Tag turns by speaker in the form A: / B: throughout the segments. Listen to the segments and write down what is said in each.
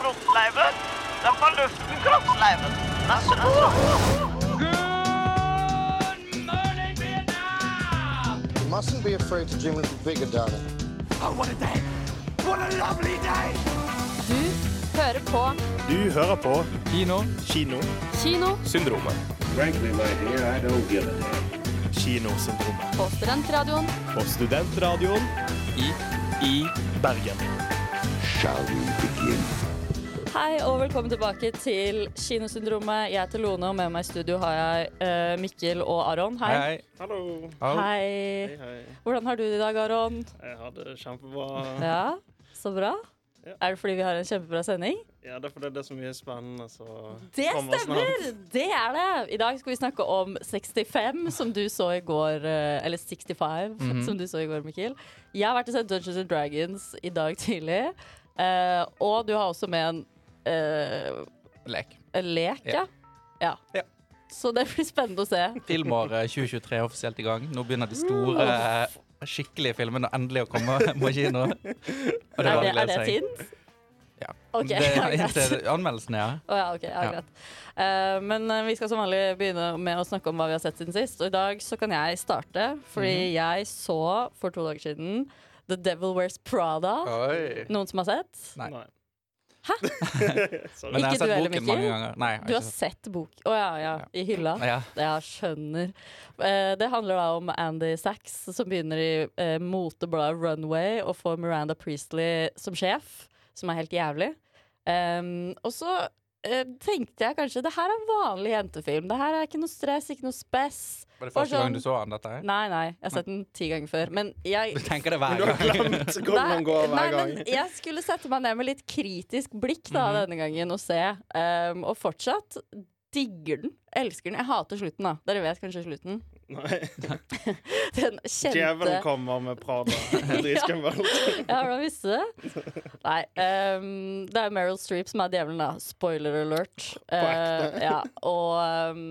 A: kroppsleiven. Den var luften, kroppsleiven. Den er så god.
B: You mustn't be afraid to dream a little bigger, darling.
C: Du hører på
D: Du hører på
E: Kino.
D: Kino.
C: Kino
E: Syndromet.
F: Frankly, my dear, I don't give a damn.
D: Kinosyndromet.
C: på Studentradioen.
D: På Studentradioen
E: I.
D: i Bergen.
C: Hei og velkommen tilbake til Kinosyndromet. Jeg heter Lone, og med meg i studio har jeg eh, Mikkel og Aron. Hei.
E: Hei.
G: Hallo.
E: Au.
C: Hei.
G: Hei, hei.
C: Hvordan har du det i dag, Aron?
G: Jeg har det kjempebra.
C: Ja, så bra.
G: Ja.
C: Er det fordi vi har en kjempebra sending?
G: Ja, det er fordi det er så mye spennende. Så
C: Det
G: kommer snart.
C: stemmer! Det er det. I dag skal vi snakke om 65, som du så i går. eh, Eller 65, som du så i går, Mikkel. Jeg har vært og sett Dungeons and Dragons i dag tidlig. eh, og du har også med en eh,
E: Lek.
C: en lek, ja.
E: Ja.
C: ja.
E: Ja.
C: Så det blir spennende å se.
E: Filmåret 2023 eh, er offisielt i gang. Nå begynner de store, eh, skikkelige filmene endelig å komme på kino. Og det
C: Er
E: bare å
C: det,
E: glede
C: er det
E: seg.
C: tynt?
E: Ja.
C: Ok,
E: det er
C: ja, greit.
E: inntil anmeldelsene, ja.
C: Å ja, ok, ja,
E: Ja.
C: greit. Eh, men eh, vi skal som vanlig begynne med å snakke om hva vi har sett siden sist. Og i dag så kan jeg starte, fordi jeg så for to dager siden The Devil Wears Prada.
E: Oi.
C: Noen som har sett?
E: Nei.
G: Nei.
E: Men jeg
C: Ikke
E: har
C: du
E: sett
C: heller,
E: boken
C: Mikkel?
E: mange ganger. Nei, jeg
C: Du har
E: ikke
C: sett bok... Å ja, ja. I hylla?
E: sett- ja.
C: Ja, skjønner. Eh, det handler da om Andy Sachs, som begynner i eh, motebladet Runway og får Miranda Priestley som sjef, som er helt jævlig. Ehm, og så eh, tenkte jeg kanskje det her er en vanlig jentefilm. Det her er ikke noe stress, ikke noe spess.
E: Var det
C: Bare
E: første gang du
C: sånn-
E: så han, dette? her?
C: Nei, nei, jeg har sett den ti ganger før. Men jeg
E: Du tenker det hver
G: Du har
E: gang.
G: glemt hvordan man går
C: nei,
G: hver gang.
C: men jeg skulle sette meg ned med litt kritisk blikk da,
E: Mhm.
C: denne gangen og se. Ehm, og fortsatt digger den. Elsker den. Jeg hater slutten, da. Dere vet kanskje slutten.
G: Nei.
C: Den kjente
G: Djevelen kommer med Prada. Dritskummelt.
C: Ja, hvordan visste du det? Nei, ehm, det er Meryl Streep som er djevelen, da. Spoiler alert.
G: ekte.
C: Eh, ja, og ehm,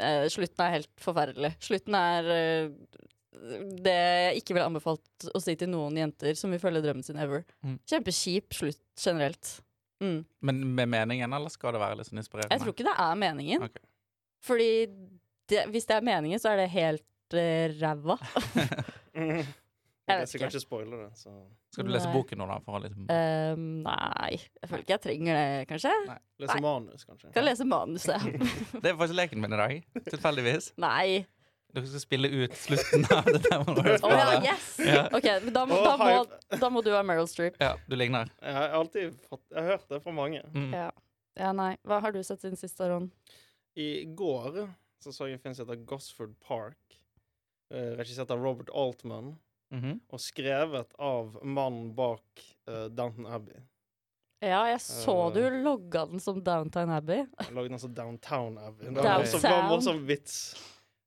C: eh, slutten er helt forferdelig. Slutten er eh, det jeg ikke ville anbefalt å si til noen jenter som vil følge drømmen sin ever.
E: Mm.
C: Kjempekjip slutt generelt. Mm.
E: Men med meningen, eller skal det være litt sånn inspirerende?
C: Jeg tror ikke det er meningen.
E: Ok.
C: Fordi det, hvis det er meningen, så er det helt eh, ræva.
G: Mm. Jeg
C: vet
G: skal
C: ikke.
G: ikke spoile det. Så.
E: Skal du lese
C: Nei.
E: boken nå, da? For å liksom...
C: Ehm, nei, jeg føler ikke jeg trenger det, kanskje. Nei.
G: Lese manus, kanskje.
C: Skal lese manuset.
E: Det er faktisk leken min i dag. Tilfeldigvis.
C: Nei.
E: Dere skal spille ut slutten av det der. man bare
C: Å
E: spiller.
C: ja, yes!
E: Ja.
C: Ok, men da må,
G: Å,
C: da,
G: hype.
C: må, da må du ha Meryl Streep.
E: Ja, du ligner.
G: Jeg har alltid fått, jeg har hørt det fra mange.
E: Mm.
C: Ja. ja, nei. Hva har du sett siden sist, Aron?
G: I går så så jeg en film som heter Gosford Park, eh, regissert av Robert Altman,
E: Mhm.
G: og skrevet av mannen bak eh, Downton Abbey.
C: Ja, jeg så
G: Eh.
C: du logga den som Downtown Abbey.
G: Jeg lagde den som altså Downtown Abbey. Det var også
C: Downtown.
G: en morsom vits.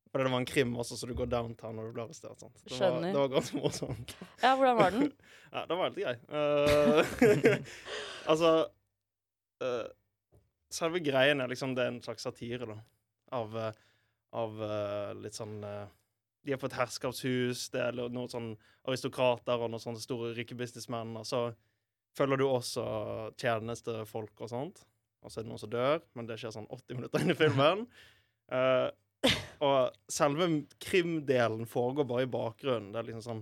G: Fordi det var en krim også, så du går downtown når du blir arrestert. Sant? Det, var,
C: Skjønner.
G: det var ganske morsomt.
C: Ja, hvordan var den?
G: Ja, det var helt grei. Eh, altså eh, Selve greien er liksom det er en slags satire, da. Av, eh, av eh, litt sånn eh, De er på et herskapshus, det er noen sånn aristokrater og noen sånne store rike businessmenn, og så følger du også tjenestefolk og sånt. Og så er det noen som dør, men det skjer sånn 80 minutter inn i filmen. Eh, og selve krimdelen foregår bare i bakgrunnen. Det er liksom sånn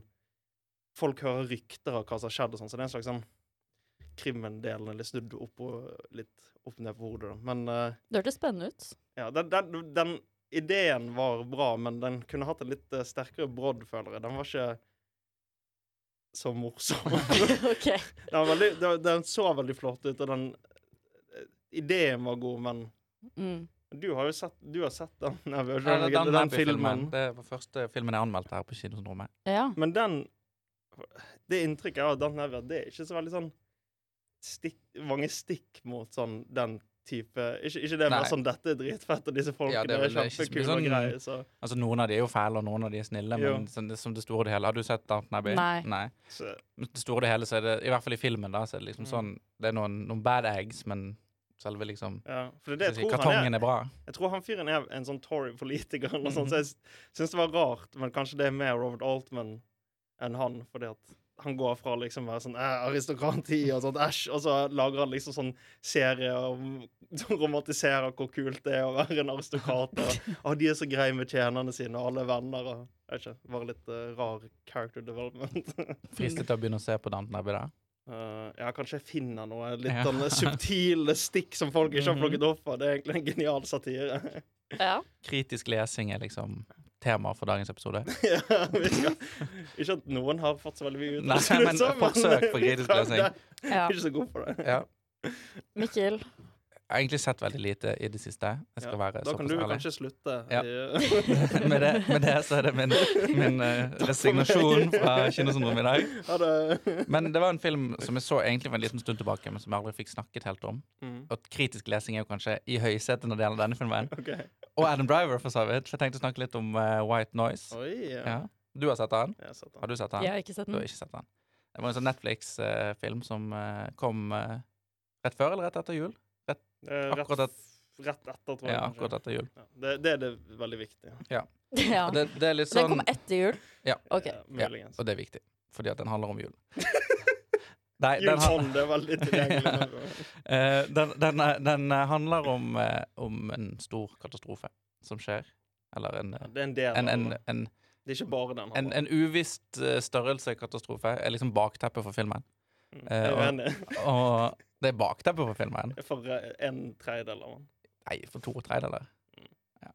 G: Folk hører rykter av hva som har skjedd, og sånn, så det er en slags sånn krimdelen er litt snudd opp og litt opp ned på hodet. Da. Men eh,
C: Det hørtes spennende ut.
G: ja, den, den, den ideen var bra, men den kunne hatt en litt eh, sterkere brodd, føler jeg. Den var ikke så morsom.
C: Ok.
G: Den, var veldig, den, den så veldig flott ut, og den eh, Ideen var god, men
C: Mm.
G: du har jo sett, du har sett den, Nei, vi har ikke
E: Ja, det er
G: den, den,
E: Dan Happy-filmen.
G: filmen.
E: Det var første filmen jeg anmeldte her på Kinosyndromet.
C: Ja.
G: Men den Det inntrykket jeg har av Dan Nevia, det er ikke så veldig sånn stikk, Mange stikk mot sånn den type Ikke, ikke det
E: Nei.
G: med sånn 'dette er dritfett', og disse folkene
E: Ja, det
G: er,
E: er vel ikke så mye
G: kjempekule
E: sånn-
G: og greier, så,
E: Altså, noen av de er jo fæle, og noen av de er snille,
G: Jo.
E: men sånn, det- som det store og det hele Har du sett Downton Abbey?
C: Nei.
G: så
E: Men Det store og det hele, så er det I hvert fall i filmen, da, så er
G: Mm.
E: det liksom sånn Det er noen, noen bad eggs, men selve liksom
G: ja. For det er
E: skal
G: det
E: jeg si,
G: jeg tror han
E: Kartongen
G: er.
E: er bra.
G: Jeg tror han fyren er en sånn Tory-politiker,
E: Mhm.
G: eller noe sånt, så jeg s- syns det var rart, men kanskje det er mer Robert Altman enn han, fordi at han går fra å liksom være sånn eh, aristokrati og sånt, æsj, og så lager han liksom sånn serie om som romantiserer hvor kult det er å være en aristokrat. Og, og de er så greie med tjenerne sine og alle er venner og jeg vet ikke, Bare litt eh, rar character development.
E: Fristet til å begynne å se på Downton Abbey da.
G: Eh, ja, kanskje jeg finner noe litt
E: Ja.
G: sånne subtile stikk som folk ikke har
E: Mhm.
G: plukket opp av. Det er egentlig en genial satire.
C: Ja.
E: Kritisk lesing er liksom temaet for dagens episode.
G: ja, vi skal, ikke at noen har fått så veldig mye ut
E: Nei,
G: av det,
E: men
G: så-
E: forsøk på kritisk
G: Ja,
E: lesing.
G: det-
C: ja.
G: Ikke så god på det.
E: Ja.
C: Mikkel.
E: Jeg har egentlig sett veldig lite i det siste. Jeg skal
G: Ja,
E: være
G: da kan
E: såpass
G: du
E: ærlig.
G: kanskje slutte.
E: Ja.
G: i-
E: med, det, med det så er det min, min eh, resignasjon fra kinosyndromet i dag.
G: Ha det.
E: Men det var en film som jeg så egentlig for en liten stund tilbake, men som jeg aldri fikk snakket helt om.
G: Mm,
E: Og kritisk lesing er jo kanskje i høysetet når det gjelder denne filmen.
G: ok.
E: Og Adam Driver, for så vidt. For jeg tenkte å snakke litt om eh, White Noise.
G: Oi, ja.
E: Ja. Du har sett den?
G: Jeg har sett den.
E: Har du sett den?
C: Jeg har ikke sett
E: Du har
C: den.
E: ikke sett den. Det var en sånn Netflix-film som eh, kom eh, rett før eller rett etter jul?
G: Eh, Rett,
E: Akkurat
G: rett etter, tror jeg.
E: Ja,
G: kanskje.
E: akkurat etter jul.
G: Ja, det, det er det veldig viktig. eh,
C: Ja.
E: Og det, det er litt
C: Den
E: sånn
C: kom etter jul.
E: Ja.
C: Ok.
G: Ja, muligens.
E: Og det er viktig, fordi at den handler om jul. Nei, den, han-
G: Julsånd er veldig tilgjengelig. nå.
E: eh, den, den, eh, den eh, handler om, eh, om en stor katastrofe som skjer. Eller en, eh,
G: Det er en del av
E: en, en,
G: det.
E: en,
G: Det er ikke bare den.
E: en,
G: han
E: en uvisst eh, størrelse katastrofe er liksom bakteppet for filmen.
G: Mm, Jeg er
E: eh,
G: uenig.
E: Og det er bakteppet for filmen.
G: For eh, en tredjedel av den.
E: Nei, for to tredjedeler. Ja.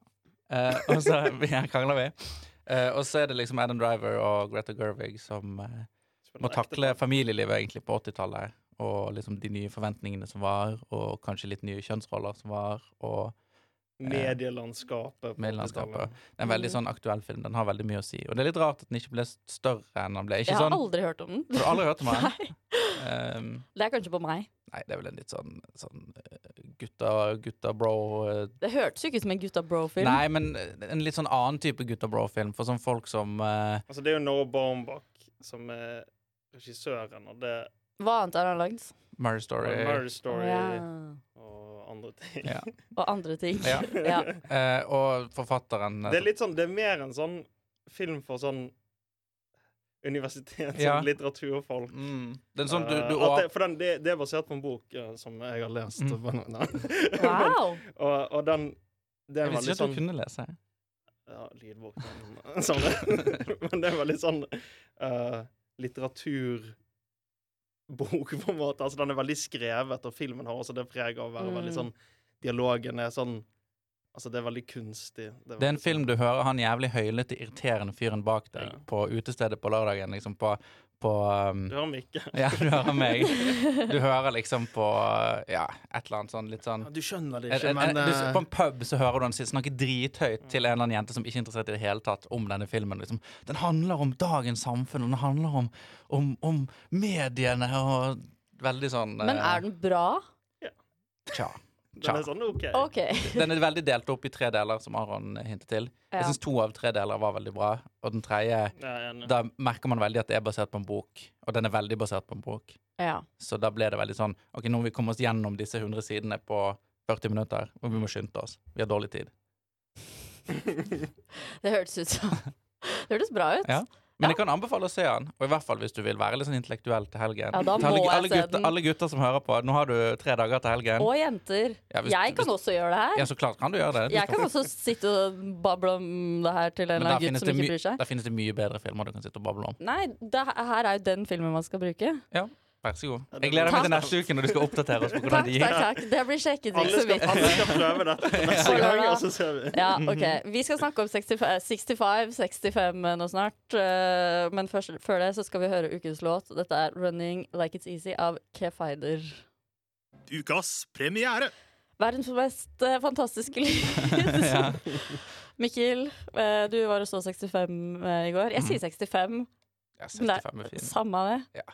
E: Eh, og så her krangler vi. Eh, og så er det liksom Adam Driver og Greta Gervig som eh, må takle familielivet egentlig på 80-tallet. Og liksom de nye forventningene som var, og kanskje litt nye kjønnsroller som var. Og
G: Medielandskapet. på
E: Medielandskapet.
G: 80-tallet.
E: det er en
C: Mm.
E: veldig sånn aktuell film. Den har veldig mye å si. Og det er litt rart at den ikke ble større enn den ble.
C: Jeg
E: Ikke
C: har
E: sånn,
C: aldri hørt om
E: Har
C: den.
E: du aldri hørt om den?
C: Nei,
E: Um,
C: Det er kanskje på meg.
E: nei, det er vel en litt sånn, sånn eh, gutta, gutta bro eh,
C: Det hørtes jo ikke ut som en gutta bro-film.
E: Nei, men en litt sånn annen type gutta bro-film. For sånn folk som eh,
G: Altså, det er jo Noah Baumbach som er regissøren, og det er
C: Hva annet har han lagd?
E: Murray Story
G: Murder Story
C: Ja.
G: og andre ting.
E: Ja.
C: Og andre ting.
E: Ja.
C: Ja.
E: eh, og forfatteren eh,
G: Det er litt sånn, det er mer en sånn film for sånn universitets-
E: Ja.
G: og litteraturfolk.
E: mm, det er sånn du,
G: Eh,
E: du
G: at det, for den, det, det er basert på en bok eh, som jeg har lest.
E: Mm.
G: Men, men,
C: Wow!
G: og, og den det er
E: Jeg
G: en
E: visste
G: veldig
E: ikke at
G: sånn
E: du kunne lese.
G: Ja, lydbok. Men, sånn, men det er veldig sånn eh, litteraturbok, på en måte. Altså, den er veldig skrevet, og filmen har også det preget av å være
E: Mm.
G: veldig sånn Dialogen er sånn Altså, det er veldig kunstig.
E: Det er en
G: veldig
E: film du hører han jævlig høylytte, irriterende fyren bak deg
G: Ja.
E: på utestedet på lørdagen. Liksom på, på um,
G: sånn- Du hører Mikke.
E: Ja, du hører meg. Du hører liksom på ja, et eller annet sånn litt sånn
G: Ja, Du skjønner det
E: en,
G: ikke,
E: en,
G: men
E: en, du,
G: eh,
E: På en pub så hører du han si- snakke drithøyt til en eller annen jente som ikke er interessert i det hele tatt om denne filmen. Liksom. Den handler om dagens samfunn, og den handler om, om, om mediene og Veldig sånn
C: Men er den bra?
E: Tja.
G: den er sånn OK.
C: OK.
E: Den er veldig delt opp i tre deler, som Aron hintet til.
C: Ja.
E: Jeg syns to av tre deler var veldig bra, og den tredje
G: Ja, jeg er enig.
E: Da merker man veldig at det er basert på en bok, og den er veldig basert på en bok.
C: Ja.
E: Så da ble det veldig sånn OK, nå må vi komme oss gjennom disse 100 sidene på 40 minutter, og vi må skynde oss. Vi har dårlig tid.
C: Det hørtes ut som Det hørtes bra ut.
E: Ja. Men
C: Ja.
E: jeg kan anbefale å se den, og i hvert fall hvis du vil være litt sånn intellektuell til helgen.
C: Ja, da
E: Til alle,
C: må jeg
E: alle,
C: se
E: gutter,
C: den.
E: alle gutter som hører på, nå har du tre dager til helgen.
C: Og jenter.
E: Ja, hvis-
C: jeg kan
E: hvis-
C: også gjøre det her.
E: Ja, så klart kan du gjøre det. Du
C: Jeg
E: skal-
C: kan også sitte og bable om det her til en
E: Men
C: eller
E: der
C: annen gutt
E: finnes,
C: som
E: det
C: ikke
E: my-
C: bryr seg.
E: der finnes det mye bedre filmer du kan sitte og bable om.
C: Nei, det her er jo den filmen man skal bruke.
E: Ja, Vær så god.
G: det
E: Jeg gleder meg til
C: blir-
E: neste uke når du skal oppdatere oss på hvordan
C: Takk,
E: det
C: takk,
E: gikk.
C: takk. Det blir sjekketriks
G: Alle
C: så
G: skal,
C: vidt.
G: alle skal prøve dette neste
C: Ja.
G: gang, og så ser vi.
C: Ja,
E: Mhm.
C: ok. Vi skal snakke om eh, 65-65 nå snart. eh, Men først, før det så skal vi høre ukens låt. Dette er 'Running Like It's Easy' av Kefaider.
D: Ukas premiere.
C: Verdens mest eh, fantastiske lyd.
E: Ja.
C: Mikkel, eh, du var og så 65 i går. Jeg sier 65,
E: Ja, 65 Mhm. er fin.
C: samme det.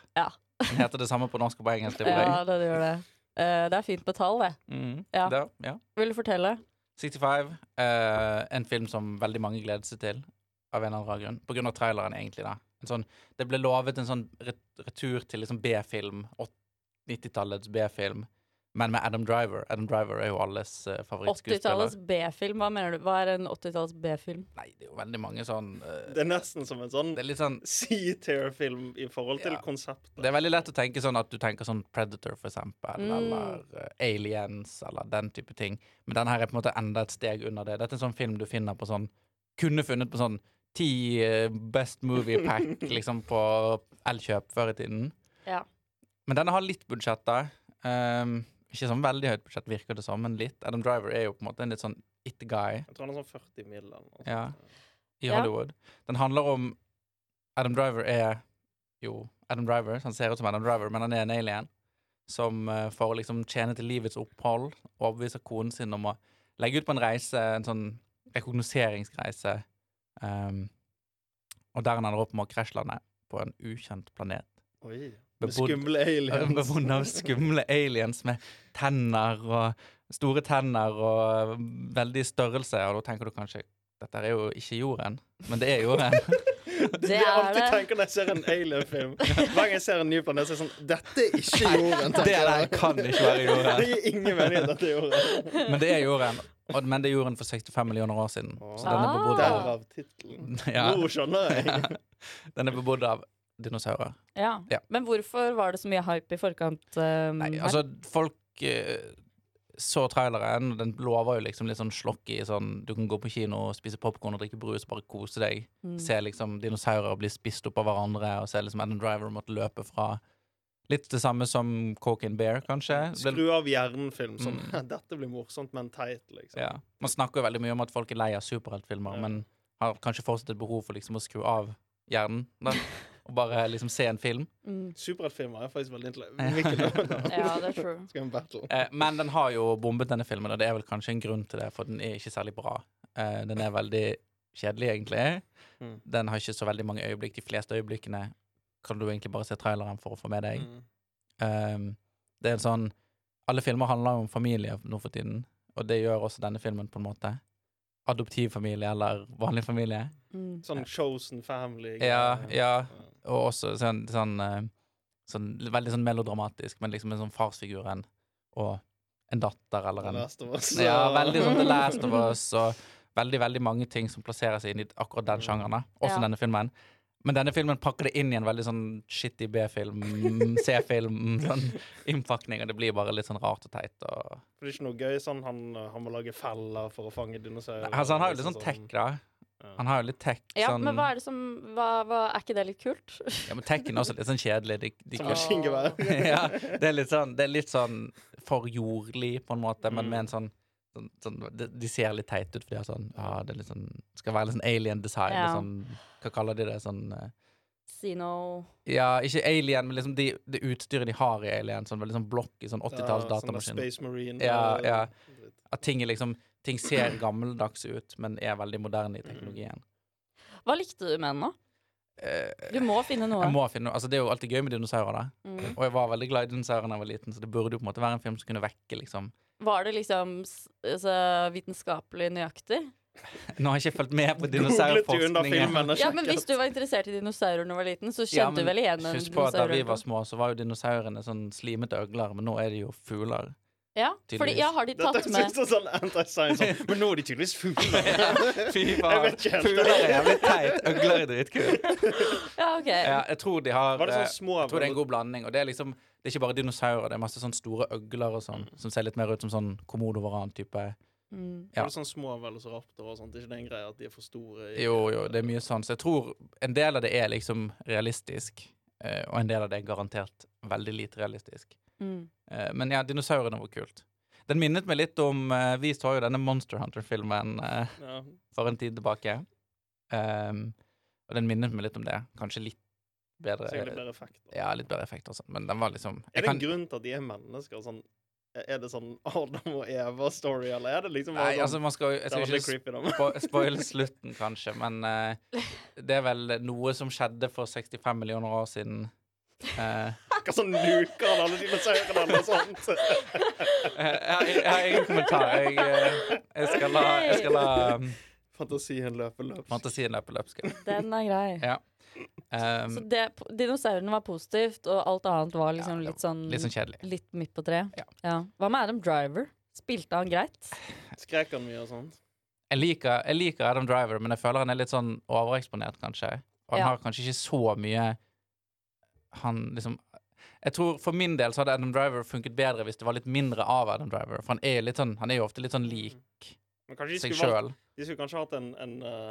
E: Den heter det samme på norsk og på engelsk. Det er
C: Ja,
E: bra.
C: det gjør det. Eh, Det er fint med tall, det.
E: Mm.
C: Ja.
E: Da, ja.
C: Vil du fortelle?
E: 65. eh, en film som veldig mange gleder seg til, av en eller annen grunn. På grunn av traileren, egentlig. da. En sånn, det ble lovet en sånn ret- retur til liksom B-film. åt- 90-tallets B-film. Men med Adam Driver. Adam Driver er jo alles eh, favorittskuespiller.
C: 80-tallets B-film, hva mener du? Hva er en 80-tallets B-film?
E: Nei, det er jo veldig mange sånn eh,
G: Det er nesten som en sånn
E: Det er litt sånn
G: Seatear-film i forhold til
E: Ja.
G: konseptet.
E: Det er veldig lett å tenke sånn at du tenker sånn Predator, for eksempel,
C: Mm.
E: eller eh, Aliens, eller den type ting. Men den her er på en måte enda et steg under det. Dette er en sånn film du finner på sånn Kunne funnet på sånn ti eh, Best Movie Pack, liksom, på Elkjøp før i tiden.
C: Ja.
E: Men denne har litt budsjett, da. Ehm, ikke sånn veldig høyt budsjett, virker det som, men litt. Adam Driver er jo på en måte en litt sånn it-guy
G: Jeg tror han er sånn 40 mill. eller noe sånt.
E: Ja. i
C: Ja.
E: Hollywood. Den handler om Adam Driver er jo Adam Driver, så han ser ut som Adam Driver, men han er en alien som eh, for å liksom tjene til livets opphold overbeviser konen sin om å legge ut på en reise, en sånn rekognoseringsreise, ehm, og der han ender opp med å krasjlande på en ukjent planet.
G: Oi. Med
E: Bebodd-
G: skumle aliens.
E: Bevunnet av skumle aliens med tenner og store tenner og veldig størrelse. Og da tenker du kanskje dette er jo ikke jorden, men det er jorden.
G: Det er
C: Det
G: det jeg alltid
C: er det.
G: tenker når jeg ser en alien-film. Hver gang jeg ser en ny planet, så er jeg sånn Dette er ikke jorden!
E: det der kan ikke være
G: Det
E: jorden.
G: gir ingen mening at dette er jorden.
E: Men det er jorden. Og, men det er jorden for 65 millioner år siden. Så den
G: Ah.
E: er bebodd av,
G: Derav tittelen.
E: Ja.
G: Nå skjønner jeg.
E: den er bebodd av dinosaurer.
C: Ja.
E: Ja.
C: Men hvorfor var det så mye hype i forkant? Um,
E: Nei,
C: her?
E: altså folk eh, så traileren, og den lover jo liksom litt sånn slokk i sånn Du kan gå på kino, spise popkorn og drikke brus, bare kose deg. Se liksom dinosaurer bli spist opp av hverandre, og se liksom Adam Driver måtte løpe fra Litt det samme som Coke and Bear, kanskje. Ble-
G: Skru av hjernen-film. Sånn Dette blir morsomt, men teit, liksom.
E: Mm. ja. Man snakker jo veldig mye om at folk er lei av superheltfilmer,
G: Ja.
E: men har kanskje fortsatt et behov for liksom å skru av hjernen. Da. Og bare liksom se en film.
C: Mm.
G: Superheltfilmer er faktisk veldig intellektuelle.
C: Ja, det er true.
G: Skal vi battle?
E: Eh, men den har jo bombet denne filmen, og det er vel kanskje en grunn til det, for den er ikke særlig bra. Eh, den er veldig kjedelig, egentlig.
G: Mm.
E: Den har ikke så veldig mange øyeblikk. De fleste øyeblikkene kan du egentlig bare se traileren for å få med deg.
G: Mm.
E: Eh, det er en sånn Alle filmer handler om familie nå for tiden, og det gjør også denne filmen, på en måte. Adoptivfamilie eller vanlig familie.
C: Mm.
G: Sånn Chosen Family.
E: Ja,
G: greier.
E: ja. Og også sånn, sånn, eh, sånn Veldig sånn melodramatisk, men liksom en sånn farsfiguren og en datter eller
G: The
E: en
G: Last of Us.
E: Ja, veldig sånn The Last of Us og veldig, veldig mange ting som plasserer seg inn i akkurat den sjangeren. da. Også
C: Ja.
E: denne filmen. Men denne filmen pakker det inn i en veldig sånn shitty B-film, C-film, sånn innpakning, og det blir bare litt sånn rart og teit. Og...
G: For det er ikke noe gøy sånn han, han må lage feller for å fange dinosaurer.
E: Altså, han har jo litt sånn tech, da.
G: Ja.
E: Han har jo litt tech,
C: Ja,
E: sånn
C: men hva er det som hva, hva, Er ikke det litt kult?
E: Ja, men tekken er også litt sånn kjedelig. De,
G: Sånn
E: de kunne-
G: maskingevær.
E: ja, det er litt sånn, det er litt sånn for jordlig, på en måte, men
G: Mm.
E: med en sånn, sånn, sånn de, de ser litt teit ut, for de har sånn ja, det er litt sånn, skal være litt sånn alien design.
C: Ja.
E: litt Sånn, hva kaller de det? Sånn eh,
C: Sino
E: Ja, ikke alien, men liksom de, det utstyret de har i alien. Sånn veldig sånn blokk i sånn 80-talls
G: Ja, sånn der
E: datamaskin.
G: Space Marine.
E: Ja,
G: eh,
E: ja.
G: dritt.
E: At ting er liksom Ting ser gammeldags ut, men er veldig moderne i teknologien.
C: Hva likte du med den, da?
E: Eh,
C: Du må finne noe.
E: jeg må finne Altså, det er jo alltid gøy med dinosaurer, da.
C: Mm.
E: Og jeg var veldig glad i dinosaurer da jeg var liten, så det burde jo på en måte være en film som kunne vekke liksom
C: Var det liksom s- altså, vitenskapelig nøyaktig?
E: Nå har jeg ikke fulgt med på
G: Googlet du under
E: dinosaurforskningen.
G: filmen og
C: Ja, men Hvis
G: sjekket?
C: du var interessert i dinosaurer da du var liten, så
E: Ja,
C: kjente du
E: men
C: vel igjen en
E: Husk på at da vi
C: dinosaur?
E: var små, så var jo dinosaurene sånn slimete øgler, men nå er de jo fugler.
C: Ja, fordi
E: tydeligvis.
C: ja, har de
G: Dette
C: tatt
G: synes
C: med
G: jeg er sånn anti-science. Sånn. Men nå er de tydeligvis fugler.
E: Fy
G: Jeg vet ikke helt.
E: Fugler er jævlig teit. Øgler er dritkult.
C: Ja, OK.
E: Ja, jeg tror de har
G: Var det
E: eh,
G: sånn små
E: Jeg tror det er en god blanding. Og det er liksom Det er ikke bare dinosaurer, det er masse sånn store øgler og sånn, som ser litt mer ut som sånn komodovaran-type.
C: Mm.
E: ja.
G: Var det sånn små velociraptor og sånt? Er ikke det en greie at de er for store? i-
E: Jo, jo, det er mye sånn. Så jeg tror en del av det er liksom realistisk, eh, og en del av det er garantert veldig lite realistisk.
C: Mm.
E: Eh, Men ja, dinosaurene var kult. Den minnet meg litt om eh, Vi så jo denne Monster Hunter-filmen eh,
G: Ja.
E: for en tid tilbake. Ehm, og den minnet meg litt om det. Kanskje litt bedre
G: Sikkert litt mer effekt. da.
E: Ja, litt bedre effekt og sånn, men den var liksom
G: Er det
E: jeg kan,
G: en grunn til at de er mennesker? Sånn, er det sånn Adam og Eva-story, eller er det liksom
E: Nei,
G: bare
E: altså,
G: sånn
E: man skal jo Jeg
G: Det var
E: skal
G: litt creepy,
E: ikke
G: da.
E: spo spoile slutten, kanskje, men eh, det er vel noe som skjedde for 65 millioner år siden. Eh,
G: Hva sånn luker han alle dinosaurene eller noe sånt?
E: jeg, jeg, jeg har ingen kommentar. Jeg, eh, jeg skal la, jeg skal la um,
G: Fantasien løper løpsk.
E: fantasien løpe løpsk.
C: Den er grei.
E: Ja. Um,
C: Så det, dinosaurene var positivt, og alt annet var liksom
E: Ja,
C: litt sånn
E: litt sånn kjedelig.
C: litt midt på treet.
E: Ja.
C: Hva med Adam Driver? Spilte han greit?
G: Skrek han mye og sånt?
E: Jeg liker, jeg liker Adam Driver, men jeg føler han er litt sånn overeksponert, kanskje. Og han
C: Ja.
E: har kanskje ikke så mye Han liksom Jeg tror For min del så hadde Adam Driver funket bedre hvis det var litt mindre av Adam Driver. For han er, litt sånn, han er jo ofte litt sånn lik
G: Men kanskje de
E: seg
G: skulle, valgt,
E: sjøl.
G: de skulle kanskje hatt en, en, eh,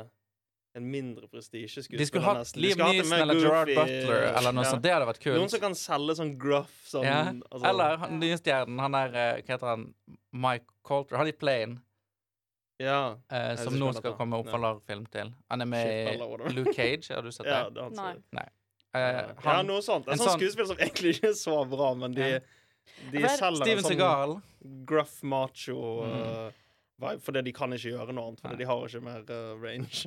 G: en mindre prestisjeskuespiller.
E: De skulle hatt
G: nesten. De
E: Liam
G: skulle hatt en
E: Neeson
G: mer
E: eller Gerard
G: goofy-
E: Butler eller noe
G: Ja.
E: sånt. Det hadde vært
G: Noen
E: kult.
G: som kan selge sånn gruff sånn
E: Ja.
G: altså-
E: Eller han, nye stjernen, han der eh, Hva heter han? Mike Coulter. Han i Plane,
G: Ja.
E: eh,
G: så
E: som
G: skal
E: nå
G: jeg
E: skal
G: ta.
E: komme
G: Ja.
E: oppfølgerfilm til. Han er
G: Shit,
E: med
G: eller
E: i
G: whatever.
E: Luke Cage, har du sett
G: ja
E: det?
G: det er han
C: Nei.
G: sikkert.
E: Eh,
G: ja,
E: han,
G: noe sånt. En
E: en
G: sånn,
E: sånn-
G: skuespill som egentlig ikke er så bra, men de,
E: Ja.
G: de
C: For-
G: selger en
E: Steven
G: sånn
E: Segal.
G: gruff macho eh, vibe, fordi de kan ikke gjøre noe annet, fordi
E: Nei.
G: de har ikke mer eh, range.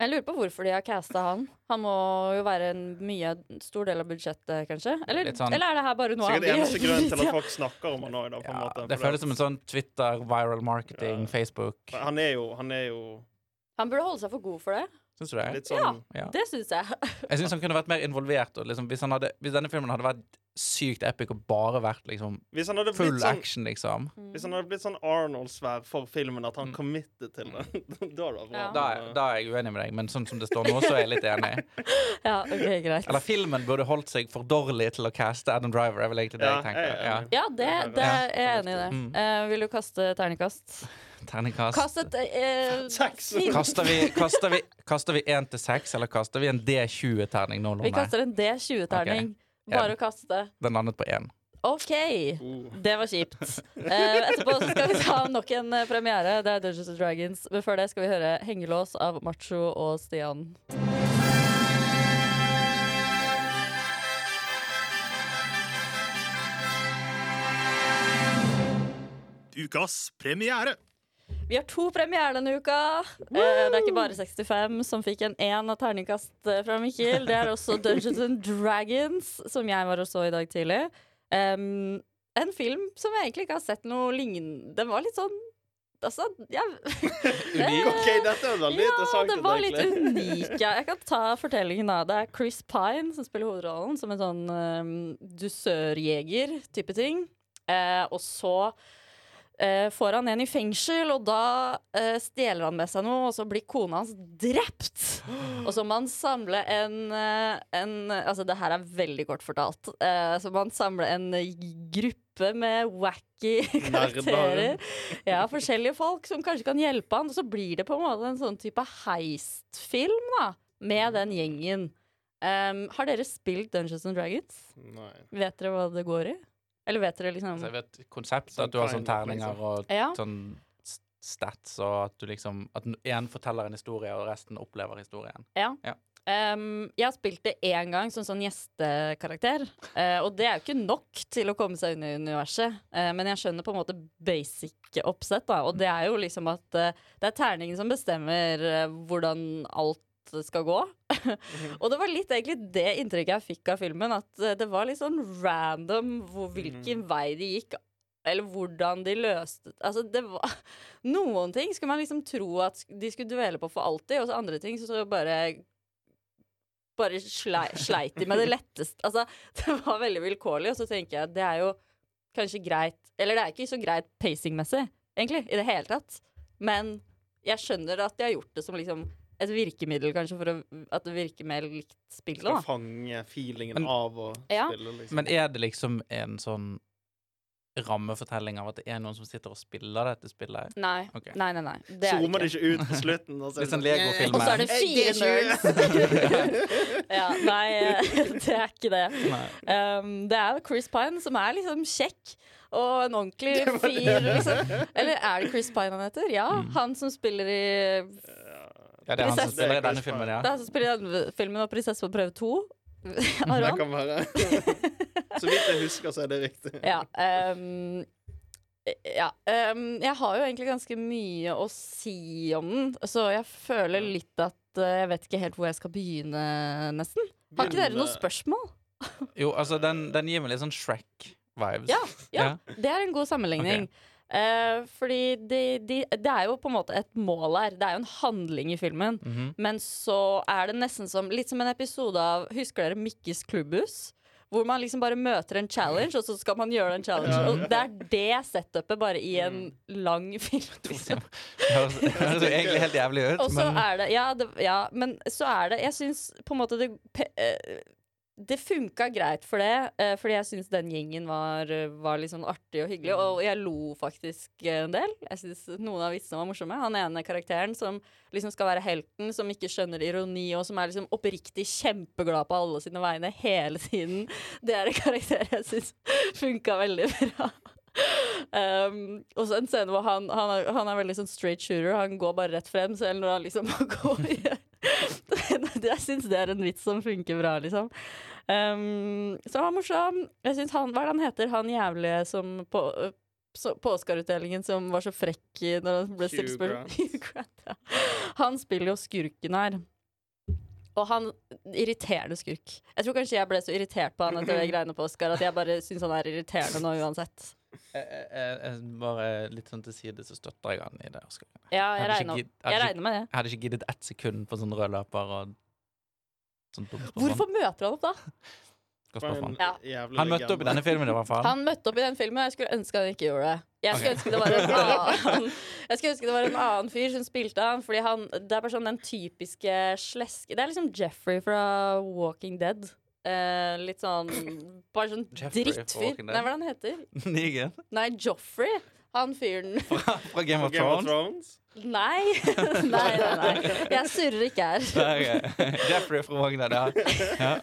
C: Jeg lurer på hvorfor de har casta han. Han må jo være en mye stor del av budsjettet, kanskje? Eller,
E: Litt sånn-
C: eller er det her bare noe
G: Sikkert eneste grunn til at
C: Ja.
G: folk snakker om han òg, da, på en
E: Ja,
G: måte.
E: det
G: fordi
E: føles som en sånn Twitter, viral marketing,
G: Ja.
E: Facebook.
G: at- Han er jo, han er jo
C: Han burde holde seg for god for det.
E: Syns du det?
G: litt sånn
E: Ja.
C: Det syns jeg.
E: Jeg syns han kunne vært mer involvert. Og liksom, hvis, han hadde, hvis denne filmen hadde vært sykt epic og bare vært liksom,
G: Hvis han hadde
E: full
G: blitt sånn
E: action, liksom
G: hvis han hadde blitt sånn Arnold-svær for filmen, at han committed til det, da hadde det vært bra.
C: Ja.
E: Mm. da, er- da er jeg uenig med deg, men sånn som det står nå, så er jeg litt enig.
C: Ja, ok, greit.
E: Eller filmen burde holdt seg for dårlig til å caste Adam Driver. Er vel egentlig det
G: Ja,
E: jeg tenker.
G: jeg er
E: Ja.
G: enig.
C: Ja, det, det
E: Ja.
C: er jeg er enig i det.
E: Mm.
C: Eh, vil du kaste terningkast?
E: Terningkast.
C: Kast et eh,
G: Seks.
C: snill.
E: Kaster vi, kaster vi, kaster vi 1 til 6, eller kaster vi en D20-terning nå?
C: Vi
E: Lone?
C: kaster en D20-terning.
E: Ja.
C: Bare å kaste.
E: Den landet på 1.
C: OK!
E: Uh.
C: Det var kjipt. Eh, etterpå så skal vi ta nok en eh, premiere. Det er Dungeons and Dragons. Men før det skal vi høre 'Hengelås' av Macho og Stian.
D: Ukas premiere.
C: Vi har to premierer denne uka. Eh, det er ikke bare 65 som fikk en én av terningkast eh, fra Mikkel. Det er også Dungeons and Dragons, som jeg var og så i dag tidlig. Em, en film som jeg egentlig ikke har sett noe lignende Den var litt sånn Altså, jeg
G: OK, dette er veldig
C: ja,
G: interessant.
C: det var litt
G: egentlig.
C: unik. Ja. Jeg kan ta fortellingen da. Det er Chris Pine som spiller hovedrollen som en sånn um, dusørjeger-type ting. Eh, og så eh, får han en i fengsel, og da eh, stjeler han med seg noe, og så blir kona hans drept. Og så må han samle en, eh, en Altså, det her er veldig kort fortalt. Eh, så må han samle en gruppe med wacky
G: Nerder.
C: karakterer. Ja, forskjellige folk som kanskje kan hjelpe han. Og så blir det på en måte en sånn type heistfilm, da, med den gjengen. Em, har dere spilt Dungeons and Dragons?
G: Nei.
C: Vet dere hva det går i? Eller vet dere liksom
E: Så Altså, jeg vet konseptet,
G: Sånn
E: at du har
G: kind
E: sånn
G: of,
E: terninger og
C: Ja.
E: sånn s- stats, og at du liksom At én forteller en historie, og resten opplever historien.
C: Ja.
E: Ja.
C: Ehm, jeg har spilt det én gang som sånn gjestekarakter. eh, og det er jo ikke nok til å komme seg inn i universet. Eh, men jeg skjønner på en måte basic oppsett, da. Og det er jo liksom at eh, det er terningen som bestemmer eh, hvordan alt skal gå. og det var litt egentlig det inntrykket jeg fikk av filmen. At eh, det var litt sånn random hvor, hvilken vei de gikk. Eller hvordan de løste Altså, det var noen ting skulle man liksom tro at sk- de skulle dvele på for alltid, og så andre ting så- så bare Bare slei, sleit de med det letteste. Altså, det var veldig vilkårlig, og så tenker jeg at det er jo kanskje greit Eller det er ikke så greit pacingmessig, egentlig, i det hele tatt. Men jeg skjønner at de har gjort det som liksom et virkemiddel, kanskje, for å, at det virker mer likt spillet,
G: Skal
C: da.
G: fange feelingen
E: Men-
G: av å
C: Ja.
G: spille, liksom.
E: Men er det liksom en sånn rammefortelling av at det er noen som sitter og spiller dette spillet?
C: Nei.
E: Ok.
C: Nei, nei, nei. Det er
G: Zoomer det
C: det ikke.
G: ikke ut på slutten. og så er
E: Litt sånn
G: det
E: Lego-filmer.
C: Og så er det fire nerds. ja, nei, eh, det er ikke det.
E: Nei.
C: Um, det er jo Chris Pine som er liksom kjekk og en ordentlig fyr. Liksom. Eller er det Chris Pine han heter? Ja, han som spiller i
E: Ja, det er han som
C: Prinsesse-
E: spiller i
G: Det er
E: denne
G: Chris
E: filmen,
C: Det er
E: ja.
C: han som spiller i den filmen Og 'Prinsesse på prøve 2'.
G: Det
C: Aron?
G: kan være. Så vidt jeg husker, så er det riktig.
C: Ja. ehm, ja ehm, jeg har jo egentlig ganske mye å si om den, så jeg føler litt at eh, jeg vet ikke helt hvor jeg skal begynne, nesten. Har ikke dere noen spørsmål?
E: Jo, altså, den, den gir meg litt sånn Shrek-vibes.
C: Ja, ja, det er en god sammenligning. Eh, fordi de, de, det er jo på en måte et mål her. Det er jo en handling i filmen. Men så er det nesten som litt som en episode av Husker dere Mikkes klubbhus? Hvor man liksom bare møter en challenge, og så skal man gjøre den challenge.
G: Ja.
C: Og det er det setupet, bare i en lang film. Liksom.
E: Det høres det høres jo egentlig helt jævlig ut,
C: Og så
E: men
C: er det ja, det ja, men så er det Jeg syns på en måte det pe- eh, Det funka greit for det, eh, fordi jeg syns den gjengen var, eh, var litt sånn artig og hyggelig. Og jeg lo faktisk eh, en del. Jeg syns noen av vitsene var morsomme. Han ene karakteren som liksom skal være helten, som ikke skjønner ironi, og som er liksom oppriktig kjempeglad på alle sine vegne hele tiden. Det er en karakter jeg syns funka veldig bra. Um, og så en scene hvor han, han, er, han er veldig sånn straight shooter. Han går bare rett frem, selv når han liksom må gå og gjøre Jeg syns det er en vits som funker bra, liksom. Um, så han var morsom. Jeg synes han, Hva er det han heter, han jævlige som på, øh, så, på Oscar-utdelingen som var så frekk i- når han ble
G: Hugh
C: stilt spørsmål?
G: Grant.
C: Hugh Grant, ja. Han spiller jo skurken her. Og han irriterende skurk. Jeg tror kanskje jeg ble så irritert på han etter de greiene på Oscar at jeg bare syns han er irriterende nå uansett.
E: jeg, jeg, jeg- bare litt sånn til side, så støtter jeg han i det. Oscar.
C: Ja, jeg
E: Hadde ikke
C: regner,
E: gidd- hadde
C: jeg
E: ikke-
C: regner med det.
E: Jeg hadde ikke giddet ett sekund på sånn rød løper og sånn dumt spørsmål.
C: Hvorfor møter han opp, da?
E: Godt
G: For en
E: spørsmål.
C: Ja.
G: jævlig
E: Han møtte opp i
G: legende.
E: denne filmen, i hvert fall.
C: Han møtte opp i den filmen, og jeg skulle ønske han ikke gjorde det. Jeg skulle,
E: Ok.
C: ønske det var en annen, jeg skulle ønske det var en annen fyr som spilte han, fordi han Det er bare sånn den typiske sleske Det er liksom Jeffrey fra Walking Dead. Eh, litt sånn Bare sånn
E: Jeffrey fra
C: drittfyr.
E: Walking Dead.
C: Nei, hva er det han heter?
E: Negan
C: Nei, Joffrey. Han fyren.
E: fra Game
G: På
E: of
G: Game of
E: Thrones.
G: Thrones?
C: Nei. nei, nei, nei. Jeg surrer ikke her.
E: Nei, ok. eh, Jeffrey fra Wagner, ja.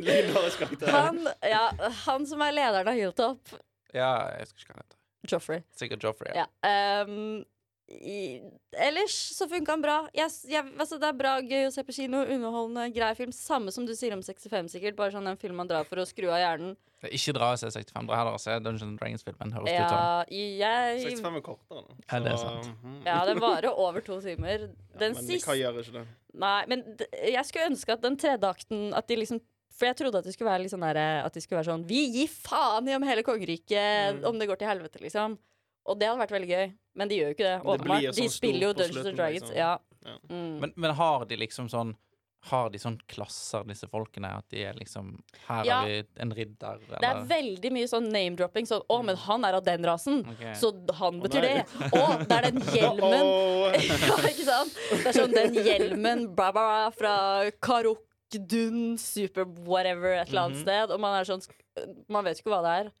G: Legendarisk karakter.
C: Han, ja, han som er lederen av Hilltop.
E: ja. Jeg husker ikke hva han heter.
C: Joffrey.
E: Sikkert Joffrey. Ja.
C: Ja. ehm, i, ellers så funka han bra. Jeg, s- jeg, altså det er bra, gøy å se på kino. Underholdende, grei film. Samme som du sier om 65, sikkert. Bare sånn en film man drar for å skru av hjernen.
E: Ikke dra og se 65, dra heller og se Dungeons Dragons-filmen. Høres det ut som.
C: Ja, jeg,
G: 65 er kortere nå.
E: Ja, det er
G: så,
E: sant.
G: mhm.
C: ja, den varer over to timer. Den
G: Men hva
C: siste
G: gjør ikke det?
C: Nei, men d jeg skulle ønske at den tredje akten At de liksom For jeg trodde at de skulle være litt sånn derre At de skulle være sånn Vi gir faen i om hele
G: Mm.
C: kongeriket, om det går til helvete, liksom. Og det hadde vært veldig gøy. Men de gjør jo ikke det.
G: blir
C: Åpenbart.
G: jo
C: De
G: sånn
C: spiller jo
G: stort på
C: Dungeons
G: slutten,
C: and Dragons.
G: liksom.
C: Ja.
G: Ja.
C: Mm.
E: Men, men har de liksom sånn Har de sånn klasser, disse folkene? At de er liksom Her
C: Ja.
E: har vi en ridder, eller
C: det er veldig mye sånn name-dropping. Sånn 'Å, men han er av den rasen',
E: Ok.
C: så han betyr
G: nei.
C: det. 'Å, det er den hjelmen'.
G: Åh,
C: ja, ikke sant? Det er sånn den hjelmen bla, bla, bla, fra Karok, Dun, Super whatever et eller annet sted. Og man er sånn sk- Man vet jo ikke hva det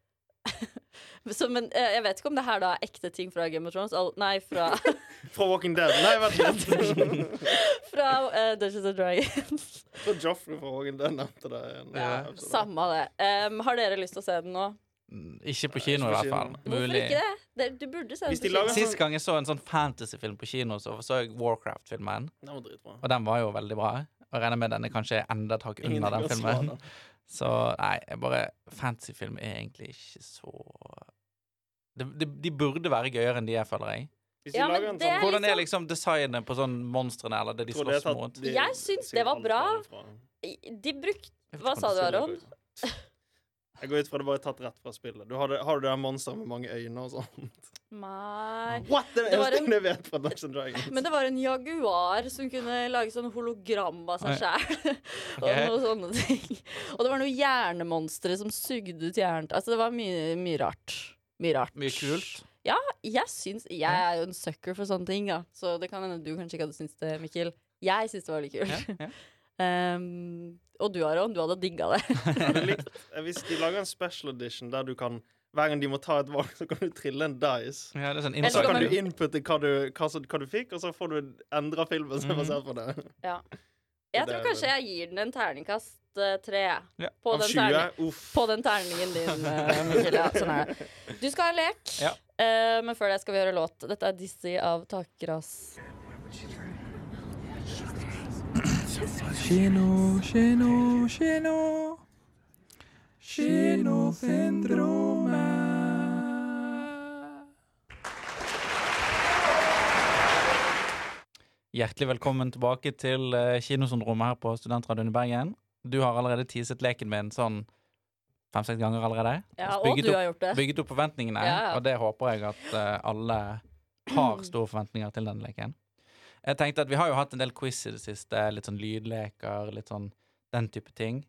C: er. Så, men eh, jeg vet ikke om det her da er ekte ting fra Game of Thrones. Al nei, fra,
G: Fra Walking Dead. Nei, vent litt.
C: fra eh, Dungeons and Dragons.
G: Fra Joffrey fra Walking Dead nevnte det. i en
E: Ja.
G: episode.
C: Samme av det. Em, har dere lyst til å se den nå?
E: Mm, Ikke på kino, i
G: Ikke på
E: hvert fall.
G: kino.
C: Hvorfor
E: Mulig.
C: ikke det? det? Du burde se den.
G: Hvis de
C: på kino.
G: lager
E: Sist gang jeg så en sånn fantasyfilm på kino, så så jeg Warcraft-filmen.
G: Den var dritbra.
E: Og den var jo veldig bra. Og jeg regner med denne kanskje er enda et hakk
G: Ingenting
E: under den
G: å slå
E: filmen.
G: den.
E: Så nei, jeg bare Fantasyfilm er egentlig ikke så de, de, de burde være gøyere enn de er, føler jeg.
G: Hvis
C: Ja,
G: de
C: men
G: lager en
C: det
G: sånn
C: er-
E: Hvordan er liksom designet på sånn monstrene eller det de
G: Tror det er
E: slåss
G: tatt-
E: mot?
G: de-
C: Jeg syns
G: sier
C: det var
G: alt
C: bra.
G: fra den.
C: De brukte Hva sa du, Aron?
G: Jeg går ut fra det bare er tatt rett fra spillet. Du har, det, har du det her monsteret med mange øyne og sånn?
C: Nei
G: What? Det er
C: Det
G: det
C: var
G: eneste
C: en-
G: jeg vet fra Dungeons and Dragons.
C: Men det var en jaguar som kunne lage sånn hologram av seg sjæl. og noen sånne ting. Og det var noen hjernemonstre som sugde ut hjernen. Altså, det var mye, mye rart. Mye rart.
E: Mye kult.
C: Ja, jeg syns Jeg er jo en sucker for sånne ting, da. Så det kan hende du kanskje ikke hadde syntes det, Mikkel. Jeg syns det var veldig kult.
E: Ja, ja.
C: Um, og du, Aron, du hadde digga det.
G: Jeg hadde likt, eh, hvis de lager en special edition der du kan hver gang de må ta et valg, så kan du trille en dice.
E: Ja, det er sånn
C: Jeg
G: Og så
C: tror
E: inside-
G: kan
C: man-
G: du innputte hva du, hva, som- hva du fikk, og så får du endra filmen som er
E: Mhm.
G: basert på det.
C: Jeg
G: Det
C: tror
G: er-
C: kanskje jeg gir den en terningkast eh, tre.
E: Ja,
C: På
G: Av
C: den terning-
G: 20? Uff.
C: På den terningen din, eh, Mikkel. Ja, sånn er det. Du skal ha en lek,
E: Ja.
C: eh, men før det skal vi høre låt. Dette er Dizzie av Takras.
H: Kino, kino, kino. Kinosyndromet.
E: Hjertelig velkommen tilbake til eh, Kinosyndromet her på Studentradioen i Bergen. Du har allerede teaset leken min sånn fem-seks ganger allerede.
C: Ja,
E: Så
C: og
E: bygget
C: du
E: opp-
C: har gjort det.
E: Bygget opp forventningene,
C: Ja, ja.
E: og det håper jeg at eh, alle har store forventninger til denne leken. Jeg tenkte at Vi har jo hatt en del quiz i det siste, litt sånn lydleker, litt sånn den type ting.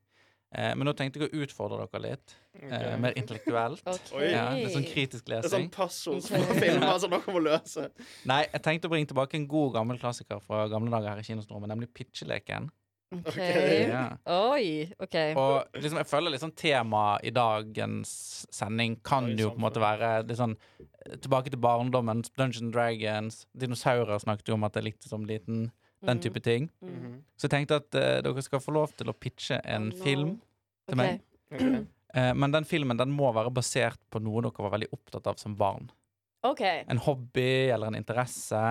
E: Eh, men nå tenkte jeg å utfordre dere litt, eh, mer intellektuelt.
C: Ok.
G: Oi.
E: ja, litt sånn kritisk
G: Det er
E: lesing.
G: sånn puzzle som
C: Ok.
G: filmer
E: altså,
G: som dere må løse.
E: Nei, jeg tenkte å bringe tilbake en god gammel klassiker fra gamle dager her i kinosnormen, nemlig pitcheleken.
C: Ok.
E: Ja.
C: Oi, OK.
E: Og liksom, jeg føler liksom temaet i dagens sending kan
G: Oi,
E: jo
G: sant
E: på en måte
G: det.
E: være litt sånn eh, Tilbake til barndommen, Dungeons and Dragons, dinosaurer snakket jo om at jeg likte som liten. Den type ting.
G: Mhm.
E: Så jeg tenkte at eh, dere skal få lov til å pitche
C: Oh,
E: en
C: no.
E: film til
C: Ok.
E: meg.
G: Ok.
E: Eh, men den filmen den må være basert på noe dere var veldig opptatt av som barn.
C: OK.
E: en hobby eller en interesse.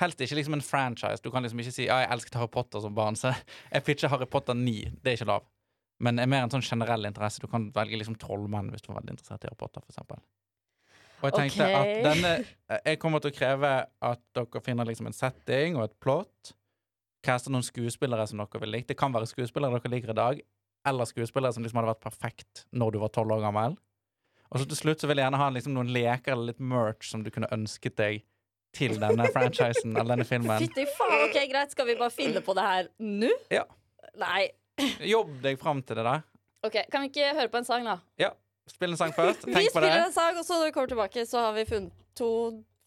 E: Helst ikke liksom en franchise. Du kan liksom ikke si ja, jeg elsket Harry Potter som barn, så jeg pitcher Harry Potter 9. Det er ikke lov. Men er mer en sånn generell interesse. Du kan velge liksom Trollmannen hvis du var veldig interessert i Harry Potter. For eksempel. og jeg tenkte
C: Ok.
E: at denne eh, Jeg kommer til å kreve at dere finner liksom en setting og et plot. Caster noen skuespillere som dere vil like. Det kan være skuespillere dere liker i dag, eller skuespillere som liksom hadde vært perfekt når du var tolv år gammel. Og så til slutt så vil jeg gjerne ha liksom noen leker eller litt merch som du kunne ønsket deg til denne franchisen eller denne filmen.
C: Fytti faen, ok, greit. Skal vi bare finne på det her nå?
E: Ja.
C: Nei.
E: Jobb deg fram til det, da.
C: OK, kan vi ikke høre på en sang, da?
E: Spill en sang først.
C: vi
E: Tenk på det.
C: spiller en sang, og så når vi kommer tilbake, så har vi funnet to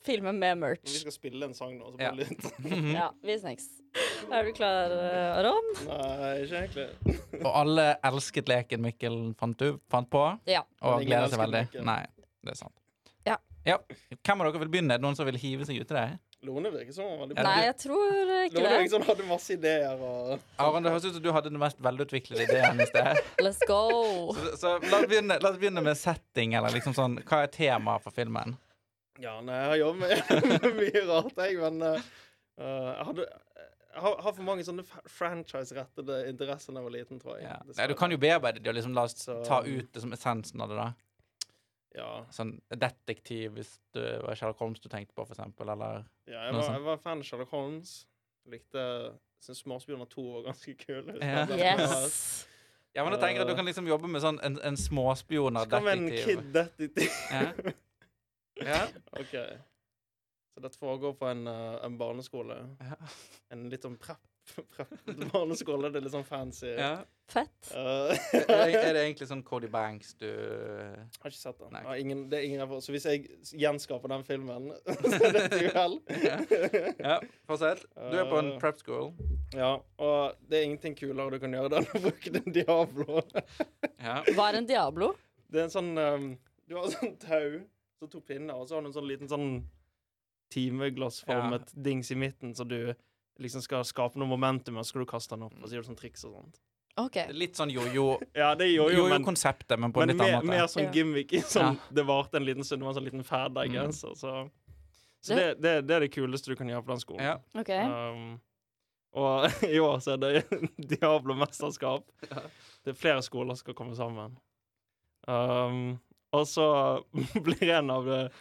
C: filmer med
G: Vi
C: merch.
G: skal spille en sang nå. Så
E: Ja.
G: bare litt.
E: Mhm.
C: Ja, vi snakkes. Er du klar, eh, Aron?
G: Nei, ikke egentlig.
E: Og alle elsket leken Mikkel fant, du, fant på,
C: Ja.
E: og
G: Men ingen
E: gleder
G: elsket
E: seg veldig.
G: leken.
E: Nei, det er sant.
C: Ja.
E: Hvem av dere vil begynne? Er det Noen som vil hive seg uti det?
G: Lone virker som han var veldig
E: Ja,
C: Nei, jeg tror ikke
G: Lone virker
E: liksom-
C: det.
G: som han hadde masse ideer og
E: Aron, det høres ut som du hadde den mest velutviklede ideen i sted.
C: Let's go.
E: Så, så la, oss begynne, la oss begynne med setting, eller liksom sånn Hva er temaet for filmen?
G: Ja, nei, jeg har jobbet med mye rart, jeg, men eh, eh, jeg, hadde, jeg har, har for mange sånne fa- franchise-rettede interesser da jeg var liten, tror jeg.
E: Ja. Nei,
G: dessverre.
E: du kan jo bearbeide det og liksom la oss
G: Så-
E: ta ut liksom, essensen av det, da.
G: Ja,
E: sånn detektiv, hvis du var Sherlock Holmes du tenkte på, for eksempel, eller
G: ja jeg,
E: Noe
G: var,
E: sånt.
G: jeg var fan av Sherlock Holmes. Likte Syns Marsbjørnar 2 var ganske kul.
E: Ja.
C: Yes.
E: Ja, men da tenker jeg at du kan liksom jobbe med sånn
G: Så kan
E: en, en
G: vi en
E: småspionerdetektiv.
G: kid-detektiv.
E: Ja. Ja.
G: OK. Så dette foregår på en, eh, en barneskole.
E: Ja.
G: En litt sånn prep, prep barneskole. Det er litt sånn fancy.
E: Ja.
C: Fett.
G: Eh,
E: Er, det, er det egentlig sånn Cody Banks du
G: Har ikke sett den.
E: Nei.
G: Har ingen, det er ingen av oss. Så hvis jeg gjenskaper den filmen, så er det et uhell.
E: Ja, fortsett. Du er på en prep school.
G: Ja, og det er ingenting kulere du kan gjøre da enn å bruke din Diablo.
E: Ja.
C: Hva er en Diablo?
G: Det er en sånn ehm, Du har sånn tau, så to pinner, og så har du en sånn liten sånn timeglassformet dings i midten, så du liksom skal skape noe momentum, og så skal du kaste den opp, og så gjør du sånn triks og sånt.
C: OK.
E: Litt sånn jojo.
G: Ja, det gjør jo, men
E: Jojo-konseptet, men på en
G: men
E: litt
G: mer,
E: annen
G: mer
E: måte.
G: sånn
C: Ja.
G: gimmick. Sånn, Det varte en liten stund. Det var en sånn liten fad der,
E: Mm.
G: genser. Så, så det, det, det er det kuleste du kan gjøre på den skolen.
E: Ja.
C: ok
G: Um, og i år så er det Diablo-mesterskap. Det er flere skoler som skal komme sammen. Um, og så blir en av det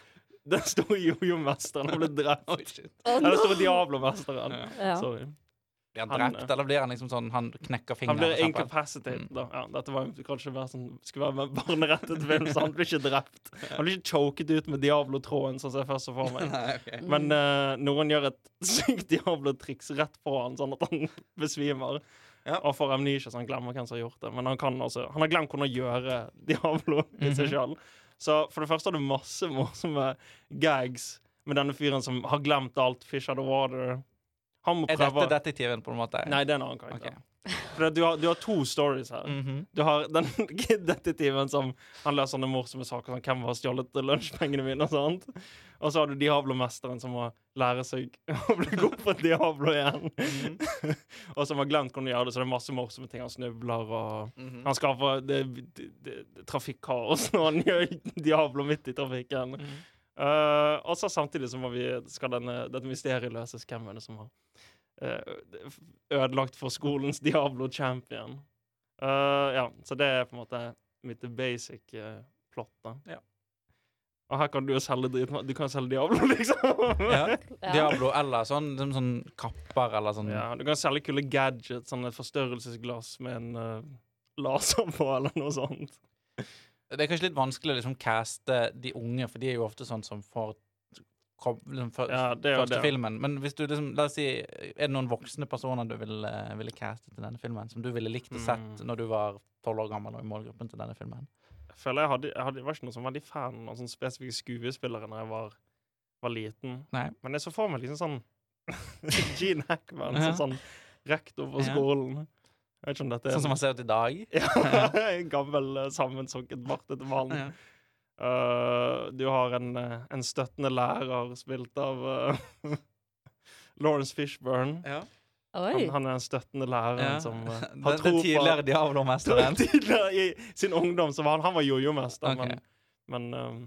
G: Den store jojo-mesteren han blir drept.
E: Oi, shit.
C: Å,
G: Eller den store
C: no.
G: Diablo-mesteren.
E: Ja.
C: Ja.
G: Sorry.
E: Blir han
G: Han- eh,
E: drept, eller blir han liksom sånn Han knekker
G: Han
E: fingeren,
G: blir
E: for eksempel?
G: incapacitated. Da. Mm. Ja, dette var jo kanskje mer sånn, skulle være med barnerettet film, så han blir ikke drept. Han blir ikke choket ut med Diablo-tråden, sånn som jeg først så for meg.
E: Nei, ok.
G: Men eh, noen gjør et sykt Diablo-triks rett på han, sånn at han besvimer.
E: Ja.
G: Og får amnesia, så han glemmer hvem som har gjort det. Men han, kan altså, han har glemt hvordan å gjøre Diablo i seg sjøl. Så for det første har du masse morsomme gags med denne fyren som har glemt alt. Fish out of water. Han må
E: Er dette
G: prøve
E: detektiven, på en måte?
G: Nei, det er en annen karakter.
E: Ok.
G: For det- du, har, du har to stories her.
E: Mhm.
G: Du har den detektiven som Han løser sånne morsomme saker som hvem har stjålet lunsjpengene mine. Og sånt Og så har du Diablo-mesteren som må lære seg å bli god på Diablo igjen.
E: Mhm.
G: og som har glemt hvordan de gjør det, så det er masse morsomme ting. Han snubler og
E: Mhm.
G: Han skaper det, det, det, det, trafikkaos når han gjør Diablo midt i trafikken.
E: Mhm.
G: Eh, og så samtidig så må vi, skal denne, dette mysteriet løses. Hvem er det som har eh, ødelagt for skolens Diablo champion? Eh, ja, så det er på en måte mitt basic eh, plot, da.
E: Ja.
G: Og her kan du jo selge drit Du kan selge Diablo, liksom.
E: Ja.
C: Ja.
E: Diablo eller sånn, liksom sånn kapper eller sånn
G: Ja, du kan selge kule gadgets, sånn et forstørrelsesglass med en eh, laser på, eller noe sånt.
E: Det er kanskje litt vanskelig å liksom caste de unge, for de er jo ofte sånn som får kom, liksom, før-
G: Ja, det er jo
E: første
G: det.
E: filmen. Men hvis du liksom, la oss si, er det noen voksne personer du ville, ville caste til denne filmen, som du ville likt å sett
G: Mm.
E: når du var tolv år gammel og i målgruppen til denne filmen?
G: Jeg føler jeg hadde, jeg hadde, var ikke noe som veldig fan av sånne spesifikke skuespillere Når jeg var, var liten.
E: Nei.
G: Men jeg så for meg liksom sånn Gene Hackman
E: Ja.
G: som sånn rektor på
E: Ja.
G: skolen. Jeg vet ikke om dette er
E: Sånn som man ser ut i dag?
G: ja, en gammel eh, sammensunket bartete mann.
E: Ja.
G: Eh, du har en, eh, en støttende lærer spilt av eh, Lawrence Fishburne.
C: Oi.
G: Han, han er den støttende læreren
E: Ja.
G: som eh,
E: Den,
G: har tro
E: den
G: på
E: tidligere Diablo-mesteren?
G: Tidligere i sin ungdom så var han, han var jojo-mester,
E: Ok.
G: men, men um,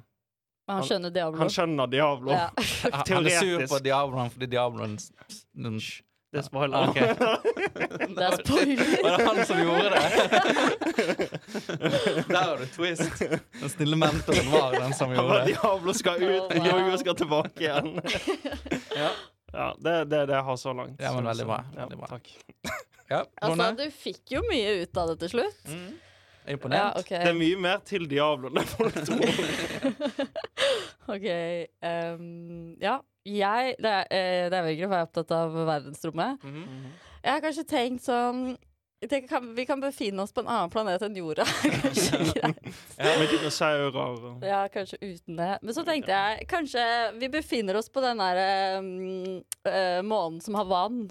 C: Men han skjønner Diablo.
G: han skjønner Diablo.
C: Ja.
E: Han er sur på
G: Teoretisk.
E: Diabloen fordi Diabloen s- s- den-
G: Det er spoiler.
E: Ok.
C: Det er spoiler.
E: Var det han som gjorde det? Der har du twist. Den snille mentoren var den som
G: Han
E: gjorde
G: var
E: det.
G: Diablo skal ut,
C: Å, wow.
G: jojo skal tilbake igjen. ja, ja det det er det jeg har så langt.
E: Ja, men veldig bra,
G: Ja,
E: veldig bra.
G: takk.
E: Ja,
C: Altså,
E: Rune?
C: du fikk jo mye ut av det til slutt.
E: er
C: Ja,
E: Imponert?
C: OK.
G: Det er mye mer til Diablo enn det folk tror.
C: Ok, ehm, ja. Jeg, det er, eh, det er virkelig for jeg er opptatt av verdensrommet. Jeg har kanskje tenkt sånn jeg tenker, kan, Vi kan befinne oss på en annen planet enn jorda. kanskje greit.
G: Med dinosaurer og
C: Ja, kanskje uten det. Men så tenkte jeg kanskje vi befinner oss på den der ehm, eh, månen som har vann.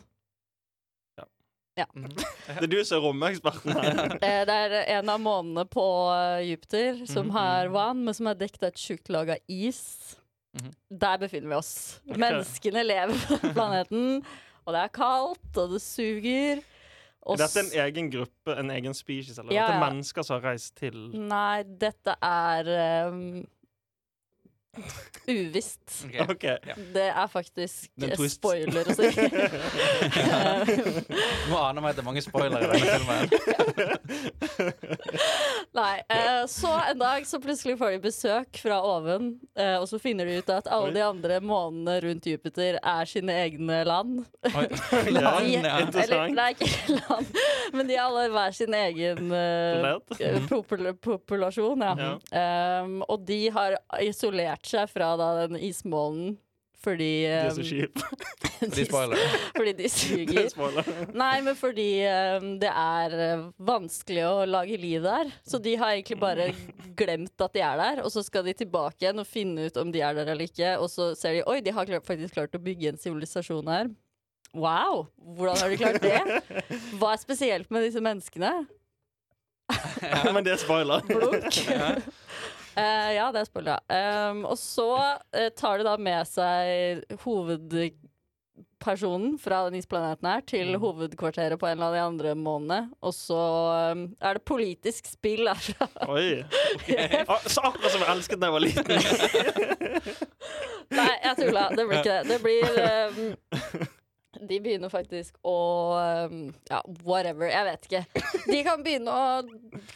G: Det er du som er romeksperten her.
C: Eh, det er en av månene på eh, Jupiter som
E: Mhm.
C: har vann, men som er dekket av et tjukt lag av is.
E: Mhm.
C: Der befinner vi oss. Menneskene lever på den planeten, og det er kaldt, og det suger. Og
G: Er dette en
C: s-
G: egen gruppe, en egen species, eller?
C: Ja,
G: Dette er
C: ja. Mm.
G: mennesker som har reist til
C: Nei, dette er ehm, uvisst.
E: Ok.
G: OK.
C: Det er faktisk
G: Mm. Det er en
C: eh,
G: twist.
C: spoiler å si.
E: Nå aner meg at det er mange spoilere i denne filmen.
C: Nei. eh, så en dag så plutselig får de besøk fra oven, eh, og så finner de ut at alle de andre månene rundt Jupiter er sine egne land.
E: Oi.
G: Ja,
E: Land, ja.
C: Eller,
G: interessant.
C: nei, ikke land, men de har alle hver sin egen eh,
G: Planet.
C: eh, popul populasjon. Ja.
G: Ja.
C: Ehm, og de har isolert seg fra da, den ismålen fordi
G: De er
C: ehm,
G: så kjipe.
E: Fordi spoiler.
C: fordi de
G: Det er
C: suger.
G: spoiler.
C: Nei, men fordi ehm, det er eh, vanskelig å lage liv der. Så de har egentlig bare glemt at de er der, og så skal de tilbake igjen og finne ut om de er der eller ikke. Og så ser de oi, de har klart, faktisk klart å bygge en sivilisasjon her. Wow! Hvordan har de klart det? Hva er spesielt med disse menneskene?
G: Men det er spoiler.
C: Blunk. Eh, ja, det er spoiler. ja. Um, og så eh, tar de da med seg hovedpersonen fra den isplaneten her til
E: Mm.
C: hovedkvarteret på en eller annen av de andre månedene. Og så um, er det politisk spill altså. her.
G: Oi. Ah, Så akkurat som jeg elsket da jeg var liten.
C: Nei, jeg tulla. Det blir ikke det. Det blir um, de begynner faktisk å um, Ja, whatever. Jeg vet ikke. De kan begynne å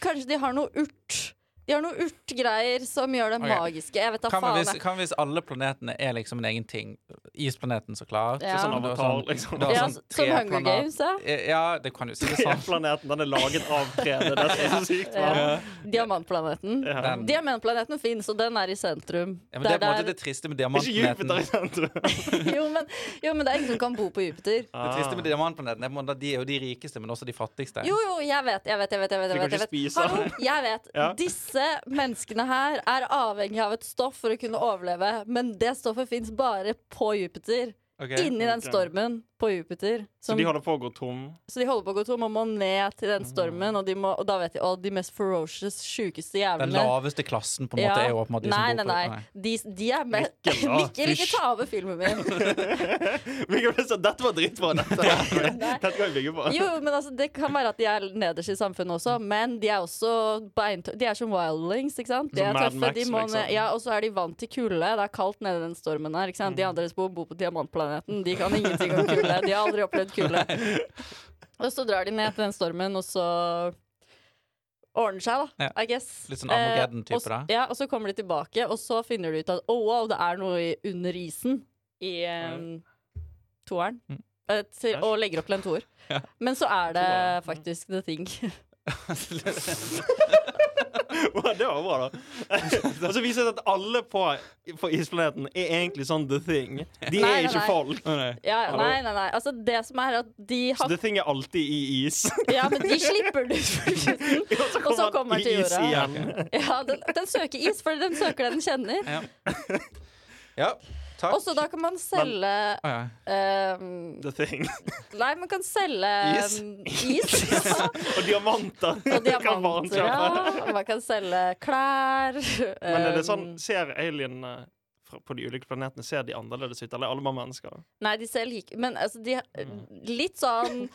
C: Kanskje de har noe urt. De har noe urtgreier som gjør dem
E: Ok.
C: magiske. Jeg vet da
E: Kan
C: faen.
E: man hvis,
C: jeg.
E: kan hvis alle planetene er liksom en egen ting? Isplaneten, så klart.
C: Ja.
E: Sånn, du har sånn-
G: Avatar, liksom.
E: du har
C: Ja,
E: sånn
C: som
E: tre
C: Hunger
E: planet-
C: Games, ja.
E: Ja, det kan du si. Det er sånn. sant.
G: Planeten den er laget av 3D. Det er så sykt.
C: Ja.
G: Ja.
C: Diamantplaneten.
G: Ja.
E: Den-
C: Diamantplaneten fins, og den er i sentrum.
E: Ja, men det er på en måte
C: der-
E: det triste med
G: Ikke
E: diamantplaneten.
G: Jupiter i sentrum.
C: jo, men, jo, men det er ingen som kan bo på Jupiter.
E: Det triste med diamantplaneten er på en måte at de er jo de rikeste, men også de fattigste.
C: Jo, jo, jeg vet, jeg vet, jeg vet. jeg vet,
G: De
C: jeg
G: kan
C: vet,
G: ikke
C: jeg vet.
G: spise.
C: Hallo, jeg vet.
G: Ja.
C: Disse menneskene her er avhengig av et stoff for å kunne overleve, men det stoffet fins bare på Jupiter.
E: Ok.
C: Inni den
G: Ok.
C: stormen på Jupiter.
G: Så
C: Som,
G: de holder på å gå tom.
C: så de holder på å gå tom og må ned til den
G: Mm.
C: stormen, og, de må, og da vet de å, de mest ferocious, sjukeste
E: Den
C: jævlene
E: laveste klassen på en måte er jo åpenbart de
C: nei,
E: som
C: nei,
E: bor på
C: nei. De, de er med
G: Mikkel, da.
C: Mikkel, ikke ta over filmen min.
G: Mikkel ble sånn, Dette var dritbra. Dette, dette kan vi bygge på.
C: Jo, men altså, Det kan være at de er nederst i samfunnet også, men de er også beintø De er som wildlings, ikke sant? De
G: Som
C: er
G: Mad
C: tøffe,
G: Max,
C: de må,
G: liksom.
C: Ja, Og så er de vant til kulde. Det er kaldt nede i den stormen her. ikke sant?
G: Mm.
C: De andre som bor, bor på diamantplaneten, de kan ingenting om kulde. De har aldri opplevd kulde. Og så drar de ned til den stormen, og så ordner seg, da.
E: Ja.
C: I guess.
E: Litt sånn Armageddon-type,
C: Eh, og s-
E: da.
C: Ja, og så kommer de tilbake, og så finner de ut at oh, wow, det er noe i- under isen i eh, toeren.
E: Mm.
C: Eh, Til, og legger opp til en toer. Men så er det faktisk the thing.
E: nei.
G: Wow, det var bra, da. Og så viser det seg at alle på, på isplaneten er egentlig sånn The Thing. De
C: Nei,
G: er
C: nei,
G: ikke
C: nei.
G: folk.
C: Ja, nei, nei, nei. Altså, det som er at de
G: Så
C: har
G: The Thing er alltid i is.
C: Ja, men de slipper den ut for slutten. Og så kommer den
G: i
C: til
G: is
C: jorda.
G: igjen.
C: Ja, den, den søker is, for den søker det den kjenner.
E: Ja. ja. Takk.
C: Og så da kan man selge
E: Å, ja.
C: ehm,
G: The Thing.
C: Nei, man kan selge
G: Is?
C: ehm, is. Ja.
G: Og diamanter.
C: Og
G: Det kan barn
C: diamanter.
G: kjøpe.
C: Ja. Man kan selge klær.
G: Men er det sånn,
C: ehm,
G: ser alienene fra- på de ulike planetene Ser de annerledes ut, eller er alle bare mennesker?
C: Nei, de ser like Men altså, de
E: Mm.
C: Litt sånn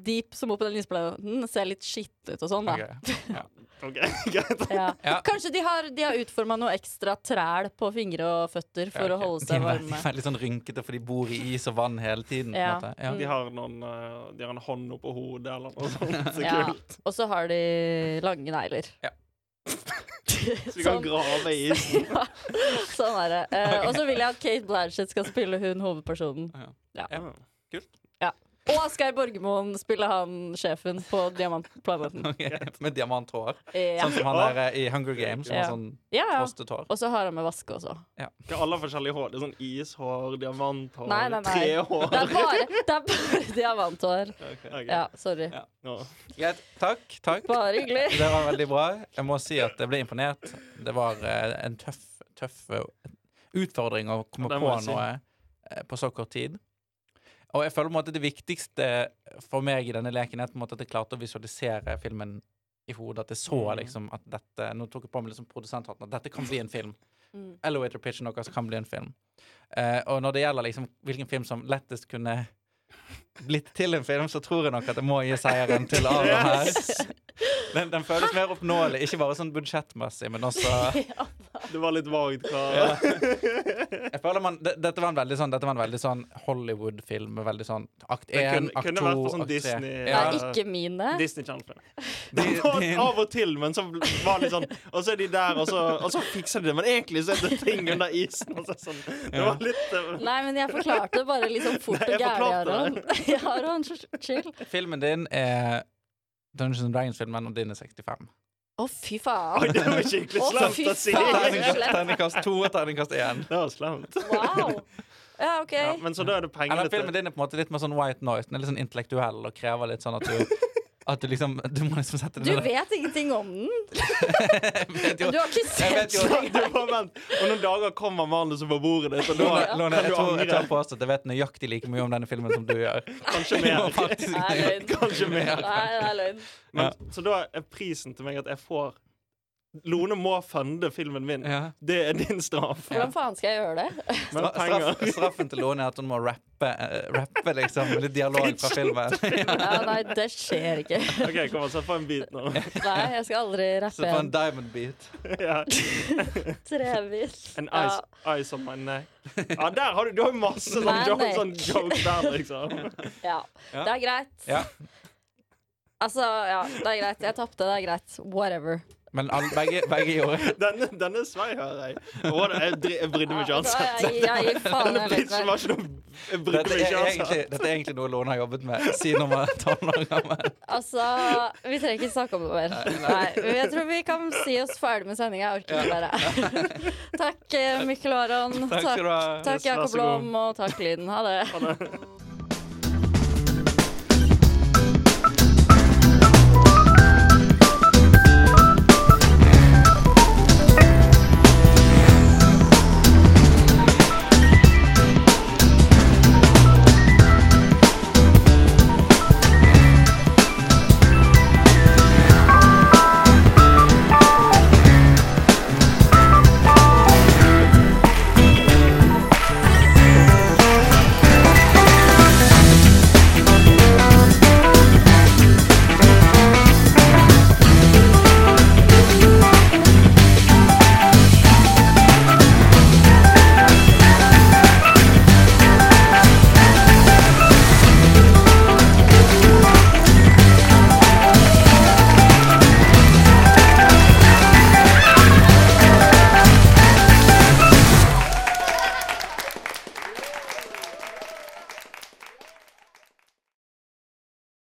C: De som bor på den isplaten, ser litt skitt ut og sånn, da.
E: Ok. Ja.
G: Ok, greit
C: Ja.
E: Ja.
C: Kanskje de har, de har utforma noe ekstra træl på fingre og føtter for
E: Ja,
C: å
E: ok.
C: holde
E: De
C: seg
E: er veldig-
C: varme.
E: de er Litt sånn rynkete, for de bor i is og vann hele tiden. på en
C: Ja.
E: måte. Ja.
G: De har, noen, eh, de har en hånd oppå hodet eller noe sånt. Så
C: Ja.
G: kult.
C: Og så har de lange negler.
E: Ja.
G: Så de kan
C: sånn,
G: grave i isen.
C: ja, sånn er det. Eh, Og så vil jeg at Kate Blanchett skal spille hun hovedpersonen.
G: Ja.
C: Og Asgeir Borgermoen spiller han sjefen på Diamantplaneten.
E: Ok. Med diamanthår.
C: Mm. Ja.
E: Sånn som han der eh, i Hunger Games. Som
C: Ja.
E: har sånn
C: ja, ja.
E: frostet hår.
C: Og så har han med vaske også.
G: Ikke alle har forskjellige hår. Det er sånn ishår, diamanthår,
C: Nei, nei, nei.
G: trehår.
C: Det er bare, det er bare diamanthår.
G: Ok,
C: Ja, sorry.
E: Ja.
G: nå.
E: Greit. Takk. takk.
C: Bare hyggelig.
E: Det var veldig bra. Jeg må si at jeg ble imponert. Det var eh, en tøff, tøff eh, utfordring å komme
G: Ja, det
E: på
G: må jeg si.
E: noe eh, på så kort tid. Og jeg føler på en måte det viktigste for meg i denne leken er på en måte at jeg klarte å visualisere filmen i hodet. At jeg så
G: Mm.
E: liksom at dette Nå tok jeg på meg liksom produsenthatten. At dette kan bli en film.
C: Mm.
E: Elevator pitchen deres kan bli en film. Eh, og når det gjelder liksom hvilken film som lettest kunne blitt til en film, så tror jeg nok at jeg må gi seieren til Aron her. Den, den føles mer oppnåelig, ikke bare sånn budsjettmessig, men også
G: Det var litt vagt hva
E: Jeg føler man, de- Dette var en veldig sånn, dette var en veldig sånn Hollywood-film. Veldig sånn akt
G: Det
E: 1,
G: kunne-
E: akt
G: kunne
E: 2,
G: vært på sånn
E: akt 3.
G: Disney-
E: Ja,
C: Det er ikke mine.
G: Disney Channel-film.
E: de, de,
G: Av og til, men så var det litt sånn Og så er de der, og så, og så fikser de det. Men egentlig så er det ting under isen. Og så er det sånn, det var litt eh,
C: Nei, men jeg forklarte det bare liksom fort
G: Nei, jeg
C: og gærlig,
G: forklarte
C: Aron. Ja, Aron, chill.
E: filmen din er Dungeons and Dragons-filmen, og din er 65.
C: Å, fy faen.
G: Det var skikkelig
C: Å,
G: slemt
C: fy
G: å si.
C: faen.
E: Terningkast terningkast to og terningkast én.
G: Det var slemt.
C: Wow. Ja, OK.
G: Ja, men så da er det pengene
E: Eller filmen din er på en måte litt mer sånn white noise. Den er litt sånn intellektuell og krever litt sånn at du At du liksom Du må liksom sette
C: Du
E: det
C: vet ingenting om den.
E: vet
C: Du har ikke
E: Jeg vet
C: sett
E: jo-
C: den.
G: Du bare vent. Og noen dager kommer manuset på bordet ditt, og da
E: Lone, Lone,
G: kan
E: jeg
G: du
E: tror jeg
G: angre.
E: tør påstå at jeg vet nøyaktig like mye om denne filmen som du gjør.
G: Kanskje
E: Det var
G: mer.
E: faktisk
C: Nei, det er løgn.
G: Kanskje mer.
C: Nei, det er løgn.
E: Ja.
G: Men, så da er prisen til meg at jeg får Lone må funde filmen min.
E: Ja.
G: Det er din straff.
C: Hvordan faen skal jeg gjøre det?
G: Men
E: Stra-
G: penger
E: straff, straffen til Lone er at hun må rappe, eh, rappe liksom, litt dialog fra filmen.
C: Ja, nei, det skjer ikke.
G: OK, kom og sett på en bit nå.
C: Nei, jeg skal aldri
E: Så
C: rappe
E: på en
C: igjen.
E: diamond beat.
G: Ja.
C: Trevis.
G: An
C: Ja.
G: ice, ice on my neck. Ja, der har du, du har jo masse sånn
C: My
G: jo-
C: neck.
G: sånn jokes der, liksom.
C: Ja.
E: Ja.
C: Det er greit.
E: Ja.
C: Altså, ja, det er greit. Jeg tapte, det er greit. Whatever.
E: Men alle, begge, begge gjorde
G: Denne, denne svei hører jeg. Å, det- Jeg, dri- jeg brydde meg ikke
C: Ja, da,
G: uansett.
C: jeg, jeg gir faen.
G: Denne
C: Jeg vet
G: pitchen
C: vel.
G: var ikke noe Jeg brydde
E: dette
G: meg
E: er,
G: ikke
E: egentlig,
G: uansett.
E: dette er egentlig noe Lone har jobbet med siden hun var tolv år gammel.
C: Altså, vi trenger ikke snakke om det mer. Nei, men Jeg tror vi kan si oss ferdig med sendinga. Jeg orker ikke mer. jeg. Takk, eh, Mikkel Aron.
E: Takk skal du ha.
C: takk
G: Vær så
C: Jakob
G: god.
C: Lom, og takk Lyden. Ha det.
G: Ha det.